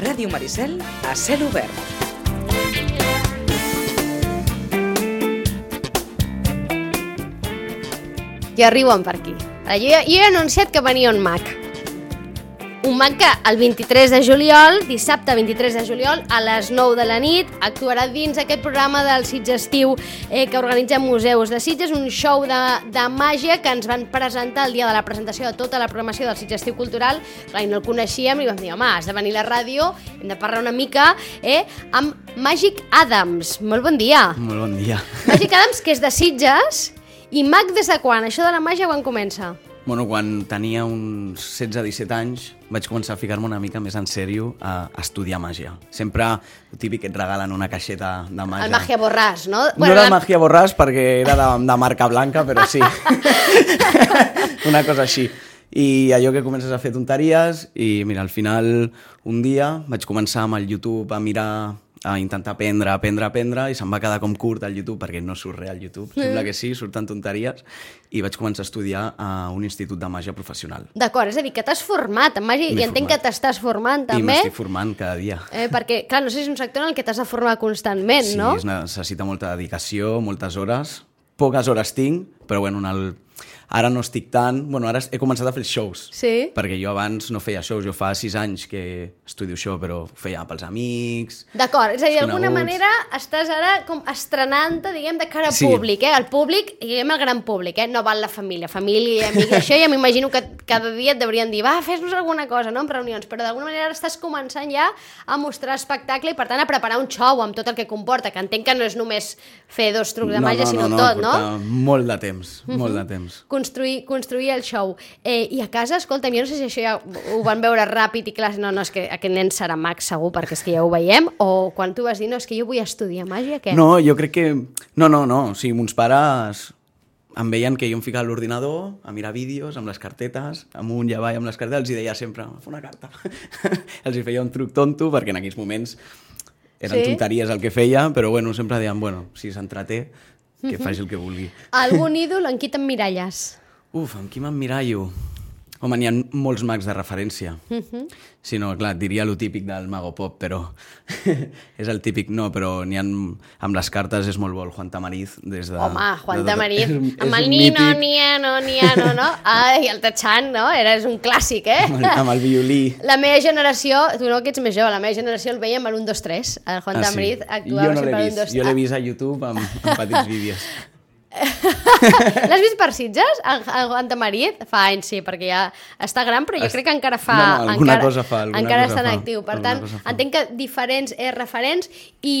Ràdio Maricel a cel obert. I arriben per aquí. Ara, Jo, ja- jo he anunciat que venia un Mac. Un Mac que el 23 de juliol, dissabte 23 de juliol, a les 9 de la nit, actuarà dins aquest programa del Sitgestiu eh, que organitza Museus de Sitges, un show de, de màgia que ens van presentar el dia de la presentació de tota la programació del Sitgestiu Cultural. Clar, i no el coneixíem i vam dir, home, has de venir a la ràdio, hem de parlar una mica, eh, amb Magic Adams. Molt bon dia. Molt bon dia. Magic Adams, que és de Sitges, i Mac des de quan? Això de la màgia quan comença? Bueno, quan tenia uns 16-17 anys vaig començar a ficar-me una mica més en sèrio a estudiar màgia. Sempre el típic que et regalen una caixeta de màgia. El Magia Borràs, no? Ah, No era la- el Magia Borràs perquè era de, de marca blanca, però sí. una cosa així. I allò que comences a fer tonteries i mira, al final un dia vaig començar amb el YouTube a mirar a intentar aprendre, aprendre, aprendre i se'm va quedar com curt el YouTube perquè no surt res al YouTube, Mm. sembla que sí, surten tonteries i vaig començar a estudiar a un institut de màgia professional D'acord, és a dir, que t'has format en màgia i M'he entenc que format. t'estàs formant i també. m'estic formant cada dia. Eh, perquè, clar, no sé si és un sector en el que t'has de formar constantment, Sí, no? es necessita molta dedicació, moltes hores. Poques hores tinc, però bueno, en el... ara no estic tant... Bueno, ara he començat a fer els shows. Sí. Perquè jo abans no feia shows, jo fa sis anys que estudio això, però ho feia pels amics... D'acord, és a dir, Els d'alguna coneguts. manera estàs ara com estrenant-te, diguem, de cara al Sí. públic, eh? El públic, diguem, el gran públic, eh? No val la família, família i amics, això ja m'imagino que cada dia et deurien dir, va, fes-nos alguna cosa, no?, en reunions, però d'alguna manera ara estàs començant ja a mostrar espectacle i, per tant, a preparar un show amb tot el que comporta, que entenc que no és només fer dos trucs de màgia, sinó tot, no? Mhm. porta Molt de temps, molt de temps. construir, construir el show. Eh, I a casa, escolta, jo no sé si això ja ho van veure ràpid i clar, no, no, és que aquest nen serà mag segur perquè és que ja ho veiem, o quan tu vas dir, no, és que jo vull estudiar màgia, què? No, jo crec que... No, no, no. O sigui, mons pares em veien que jo em ficava a l'ordinador a mirar vídeos amb les cartetes, amunt i avall amb les cartetes, els hi deia sempre, fa una carta. els hi feia un truc tonto, perquè en aquells moments eren Sí? sí? tonteries el que feia, però bueno, sempre deien, bueno, si s'entreté, que faci el que vulgui. Algun ídol en qui t'emmiralles? Uf, amb qui m'emmirallo? Home, n'hi ha molts mags de referència. Mhm. Si no, clar, et diria lo típic del mago pop, però és el típic no, però n'hi ha... Amb les cartes és molt bo el Juan Tamariz des de... Home, Juan de tot- Tamariz, és un- és amb el un Nino, mític, Niano, Niano, no? Ai, el Tachan, no? Era, és un clàssic, eh? Amb el, amb el violí. La meva generació, tu no que ets més jove, la meva generació el veia amb l'1, 2, 3. El Juan Tamariz actuava Ah, jo no l'he sempre a l'1, vist. 2, 3. Jo l'he vist a YouTube amb, amb petits vídeos. L'has vist per Sitges, el, el Juan Tamariz? Fa anys, sí, perquè ja està gran, però jo Es- crec que encara fa... No, no, alguna encara, cosa fa, alguna encara cosa està en fa, actiu. Per alguna tant, cosa fa. entenc que diferents eh, referents i...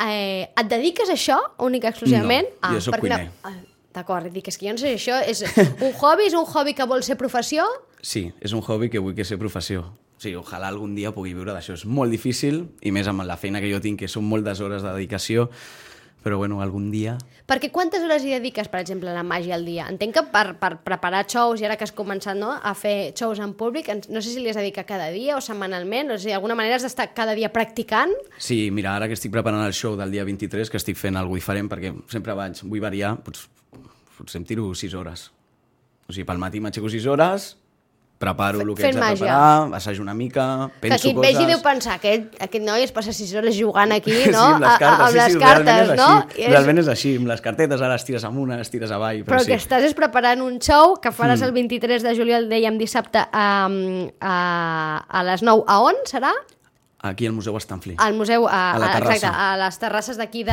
Eh, et dediques a això, únic exclusivament? No, jo sóc perquè una- cuiner. Ah, D'acord, dic, és que jo no sé si això és un hobby, és un hobby que vol ser professió? Sí, és un hobby que vull que ser professió. O sigui, ojalà algun dia pugui viure d'això. És molt difícil, i més amb la feina que jo tinc, que són moltes hores de dedicació, però bueno, algun dia... Perquè quantes hores hi dediques, per exemple, a la màgia al dia? Entenc que per, per preparar shows, i ara que has començat no, a fer shows en públic, ens- no sé si li has de dedicar cada dia o setmanalment, o sigui, d'alguna manera has d'estar cada dia practicant. Sí, mira, ara que estic preparant el show del dia 23, que estic fent alguna diferent, perquè sempre vaig, vull variar, doncs, potser em tiro 6 hores. O sigui, pel matí m'aixeco 6 hores, preparo el que fent haig de màgia. preparar, assajo una mica, que penso qui et coses... vegi deu pensar, aquest, aquest noi es passa 6 hores jugant aquí, Sí, no? amb A- les a- cartes, amb sí, les sí, cartes realment és no? Així, Realment és així, amb les cartetes ara les tires amunt, ara les tires avall, Però però, el que sí. Mm. estàs és preparant un show que faràs el 23 de juliol, dèiem, dissabte a, a, a les 9. A on serà? Aquí al Museu Estanfli. al museu a, A la a- terrassa. Mm. exacte, a les terrasses d'aquí de,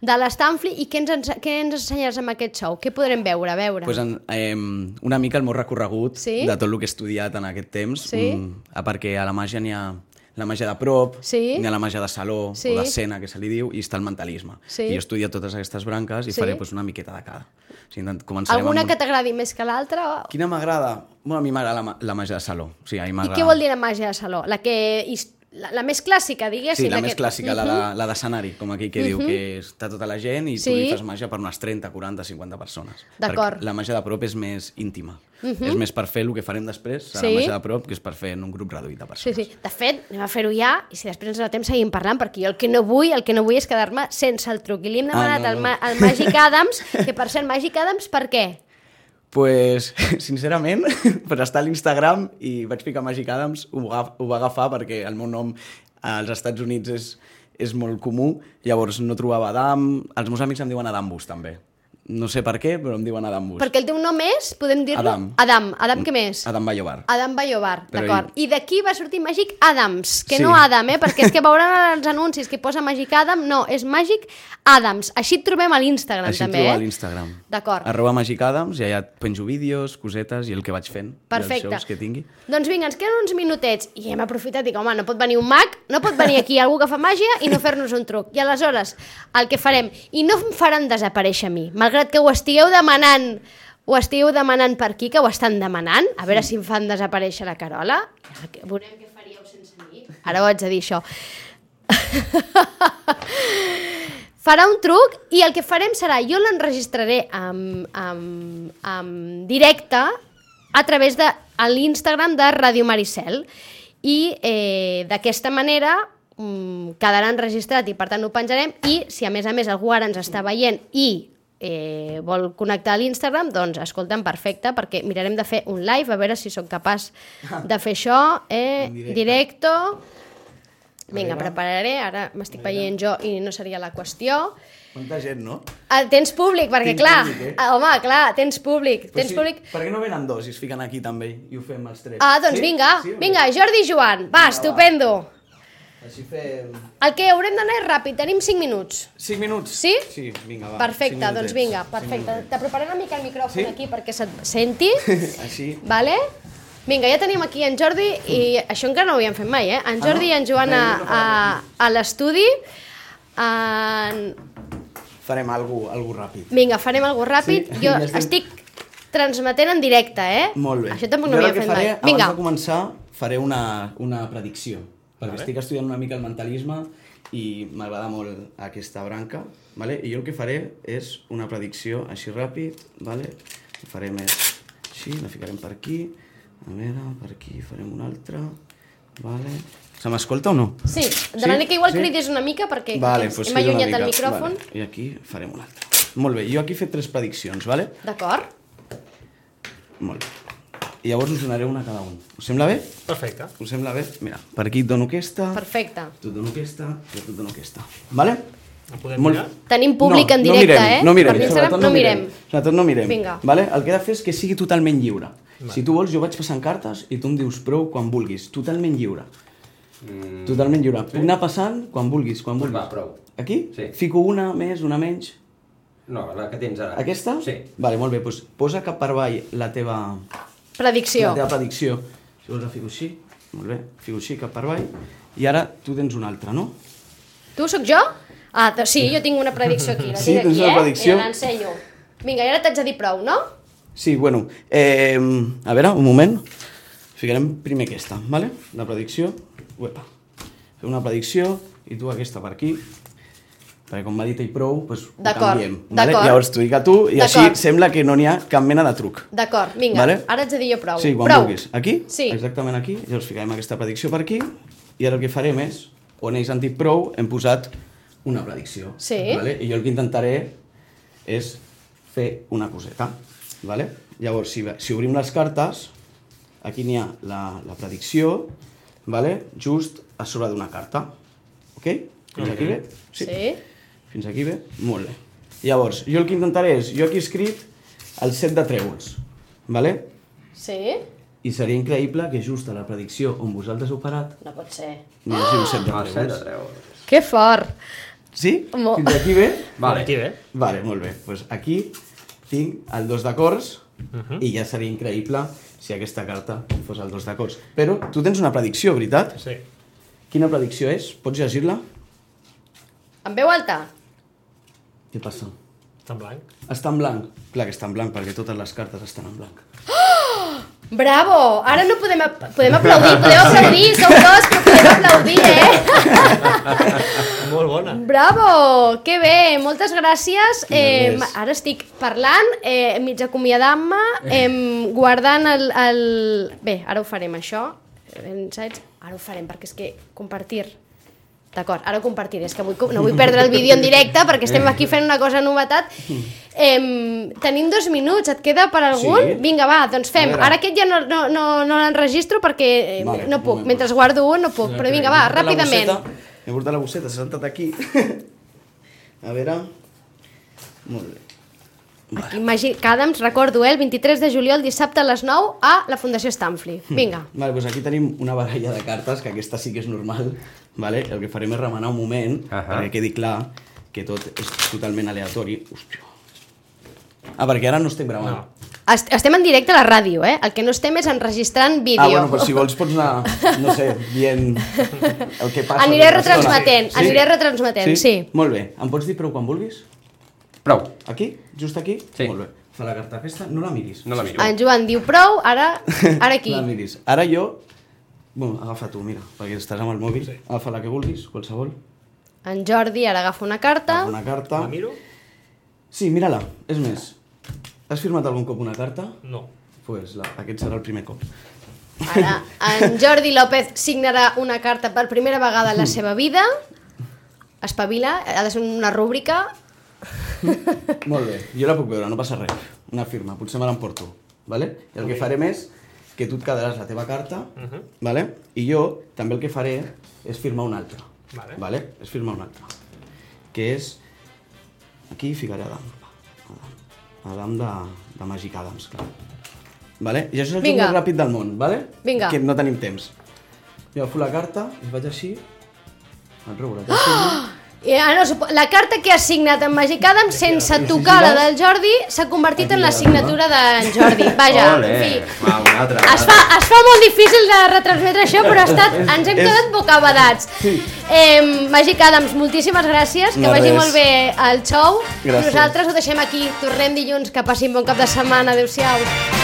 de l'Estanfli i què ens, ens, què ens ensenyaràs amb aquest show? Què podrem veure? veure? Pues en, eh, una mica el meu recorregut Sí? de tot el que he estudiat en aquest temps, Sí? mm, perquè a la màgia n'hi ha la màgia de prop, Sí? n'hi ha la màgia de saló Sí? o d'escena, que se li diu, i està el mentalisme. Sí? I jo he estudiat totes aquestes branques i Sí? faré pues, una miqueta de cada. O sigui, intent- començarem Alguna amb... que t'agradi més que l'altra? o- Quina m'agrada? Bueno, a mi m'agrada la, ma- la màgia de saló. O sigui, a mi I m'agrada- què vol dir la màgia de saló? La que... his- La, la més clàssica, diguéssim. Sí, la més que- clàssica, la de- la d'escenari, de, com aquí que diu que està tota la gent i tu Sí. li fas màgia per unes 30, 40, 50 persones. D'acord. Perquè La màgia de prop és més íntima. És més per fer el que farem després, serà Sí. la màgia de prop, que és per fer en un grup reduït de Sí, persones. sí. De fet, anem a fer-ho ja i si després ens la temps seguim parlant, perquè jo el que no vull, el que no vull és quedar-me sense el truc. I li hem Ah, demanat no, al, no. ma al Magic Adams, que per cert, Magic Adams per què? pues, sincerament, per estar a l'Instagram i vaig picar Magic Adams, ho, agaf, ho va agafar perquè el meu nom als Estats Units és, és molt comú, llavors no trobava Adam, els meus amics em diuen Adambus també. No sé per què, però em diuen Adambus. Perquè el teu nom és, podem dir-lo? Adam. Adam. Adam, què més? Adam Ballobar. Adam Bayobar, Però d'acord. I d'aquí va sortir Magic Adams, que Sí. no Adam, eh? Perquè és que veuran els anuncis que posa Magic Adam, no, és Magic Adams. Així et trobem a l'Instagram, Així també, trobar a eh? l'Instagram. D'acord. Arroba Magic Adams, i allà et penjo vídeos, cosetes i el que vaig fent. I Perfecte. els shows que tingui. Doncs vinga, ens queden uns minutets i hem aprofitat i dic, home, no pot venir un mag, no pot venir aquí algú que fa màgia i no fer-nos un truc. I aleshores, el que farem, i no em faran desaparèixer a mi, malgrat que ho estigueu demanant ho estigueu demanant per aquí, que ho estan demanant, a veure si em fan desaparèixer la Carola. Ja que- Veurem què faríeu sense mi. Ara ho haig de dir, això. farà un truc i el que farem serà, jo l'enregistraré amb, amb, amb directe a través de a l'Instagram de Radio Maricel i eh, d'aquesta manera mm, quedarà enregistrat i per tant ho penjarem i si a més a més algú ara ens està veient i eh, vol connectar a l'Instagram, doncs escolta'm, perfecte, perquè mirarem de fer un live, a veure si sóc capaç de fer això, eh, En directe. directo, Vinga, Vinga. prepararé, ara m'estic veient jo i no seria la qüestió. Quanta gent, no? Ah, tens públic, perquè Tinc clar, públic, eh? ah, home, clar, tens públic, tens públic. Per què no venen dos i es fiquen aquí també i ho fem els tres? Ah, doncs vinga, vinga, Jordi i Joan, va, estupendo. Així fem... El que haurem d'anar és ràpid, tenim 5 minuts. 5 minuts? Sí? Sí, vinga, va. Perfecte, cinc doncs minutets. vinga, Cinc perfecte. minutets. T'aproparé una mica el micròfon Sí? aquí perquè se't senti, Així. vale? Vinga, ja tenim aquí en Jordi i això encara no ho havíem fet mai, eh? En Hmm. Ah, no? Jordi i en Joan Bé, a, no a, fa a l'estudi. En... Farem algú, algú ràpid. Vinga, farem alguna cosa ràpid. Sí, Sí, jo ja estem. estic transmetent en directe, eh? Molt bé. Això tampoc no ho Jo havia el que fet faré, mai. Vinga. Vinga, Abans de començar, faré una, una predicció. Perquè estic estudiant una mica el mentalisme i m'agrada molt aquesta branca. Vale? I jo el que faré és una predicció així ràpid. Vale? Ho faré més així, la ficarem per aquí. A veure, per aquí farem una altra. Vale. Se m'escolta o no? sí, de manera que igual Sí? cridis una mica perquè Vale, ens pues hem crido una allunyat del mica. micròfon. Vale. I aquí farem una altra. Molt bé, jo aquí he fet tres prediccions, vale? D'acord? Molt bé. I llavors us donaré una a cada un. Us sembla bé? Perfecte. Us sembla bé? Mira, per aquí et dono aquesta, Perfecte. tu et dono aquesta, jo et dono aquesta. Vale? La podem mirar? Tenim públic en no directe, mirem, eh? No mirem, Per l'Instagram sobretot no no mirem. mirem. Sobretot no mirem. Vinga. Vale? El que he de fer és que sigui totalment lliure. Si tu vols, jo vaig passant cartes i tu em dius prou quan vulguis. Totalment lliure. Totalment lliure. Puc anar passant quan vulguis, quan vulguis. Doncs va, prou. Aquí? Sí. Fico una més, una menys. No, la que tens ara. Aquesta? Sí. Vale, molt bé, doncs posa cap per avall la teva, Predicció. la teva predicció. Si vols la fico així, molt bé, fico així cap per avall. I ara tu tens una altra, no? Tu sóc jo? Ah, doncs sí, jo tinc una predicció aquí. La Sí, tinc aquí, tens una eh? predicció? Mira, l'ensenyo. Vinga, i ara t'haig de dir prou, no? Sí, bueno, eh, a veure, un moment. Ficarem primer aquesta, vale? La predicció, uepa. Fem una predicció i tu aquesta per aquí. Perquè com m'ha dit ell prou, doncs ho D'acord, canviem. Vale? d'acord. Llavors t'ho dic a tu i així D'acord. sembla que no n'hi ha cap mena de truc. D'acord, vinga, Vale. ara haig de dir jo prou. Sí, quan prou. vulguis. Aquí? Sí. Exactament aquí. Llavors ficarem aquesta predicció per aquí i ara el que farem és, on ells han dit prou, hem posat una predicció. Sí. Vale? I jo el que intentaré és fer una coseta. Vale? Llavors, si, si obrim les cartes, aquí n'hi ha la, la predicció, vale? just a sobre d'una carta. Ok? Fins aquí bé? Sí. Fins aquí bé? Molt bé. Llavors, jo el que intentaré és, jo aquí he escrit el set de trèvols, vale? Sí? I seria increïble que just a la predicció on vosaltres heu parat No pot ser. n'hi hagi un set de Ah, set de trèvols. treu. Que fort. Sí? Mo- Fins aquí bé? Vale. Aquí, eh? bé. Vale, molt bé. Pues aquí tinc el dos d'acords i ja seria increïble si aquesta carta fos el dos d'acords. Però tu tens una predicció, veritat? Sí. Quina predicció és? Pots llegir-la? Em veu alta? Què passa? Està en blanc. Està en blanc. Clar que està en blanc, perquè totes les cartes estan en blanc. Bravo! Ara no podem, ap- podem aplaudir, podem aplaudir, sou dos, però podem aplaudir, eh? Molt bona. Bravo! Que bé, moltes gràcies. I de Eh, res. ara estic parlant, eh, mig acomiadant-me, eh, guardant el, el... Bé, ara ho farem, això. Insights. Ara ho farem, perquè és que compartir... D'acord, ara ho compartiré, és que vull, co- no vull perdre el vídeo en directe perquè estem aquí fent una cosa novetat. Em, tenim dos minuts, et queda per algun? Sí. Vinga, va, doncs A fem. veure. Ara aquest ja no, no, no, no l'enregistro perquè eh, Vale, no un puc. moment. Mentre guardo un no puc, Oh, però vinga, va, ràpidament. He portat la bosseta, s'ha sentat aquí. A veure... Molt bé. Imagina, Adams, recordo, eh, el 23 de juliol, dissabte a les 9 a la Fundació Stanfley. Vinga. Vale, doncs aquí tenim una baralla de cartes, que aquesta sí que és normal. Vale? El que farem és remenar un moment, uh -huh. Ahà. perquè quedi clar que tot és totalment aleatori. Hòstia. Ah, perquè ara no estem gravant. No. Est estem en directe a la ràdio, eh? El que no estem és enregistrant vídeo. Ah, bueno, però si vols pots anar, no sé, dient el que passa. doncs, Aniré durant l'estona. retransmetent, aniré retransmetent, sí. Molt bé, em pots dir prou quan vulguis? eh? Prou. Aquí? Just aquí? Sí. Molt bé. Fa la carta aquesta, no la miris. No la miro. En Joan diu prou, ara, ara aquí. No la miris. Ara jo... Bueno, agafa tu, mira, perquè estàs amb el mòbil. Sí. Agafa la que vulguis, qualsevol. En Jordi ara agafa una carta. Agafa una carta. La miro? Sí, mira-la, és més. Has firmat algun cop una carta? No. Doncs pues la, aquest serà el primer cop. Ara en Jordi López signarà una carta per primera vegada a la seva vida. Espavila, ha de ser una rúbrica. Molt bé, jo la puc veure, no passa res. Una firma, potser me l'emporto. Vale? I el que farem és que tu et quedaràs la teva carta, vale? i jo també el que faré és firmar una altra. Vale. Vale? És firmar una altra. Que és... Aquí hi ficaré Adam. Adam, Adam de, de Magic Adams, clar. Vale? I això és el joc Vinga. més ràpid del món, vale? Vinga. que no tenim temps. Jo agafo la carta i vaig així, el rubro, que firmo. I, ah, no, supo- la carta que ha signat en Magic Adam sense tocar la del Jordi s'ha convertit en la signatura d'en Jordi. Vaja, Ole. en fi. Va, una altra. Es fa, es fa molt difícil de retransmetre això, però ha estat, ens hem quedat bocabadats. Eh, Magic Adams, moltíssimes gràcies, que No, vagi res. molt bé el show. Gràcies. Nosaltres ho deixem aquí, tornem dilluns, que passin bon cap de setmana, adeu siau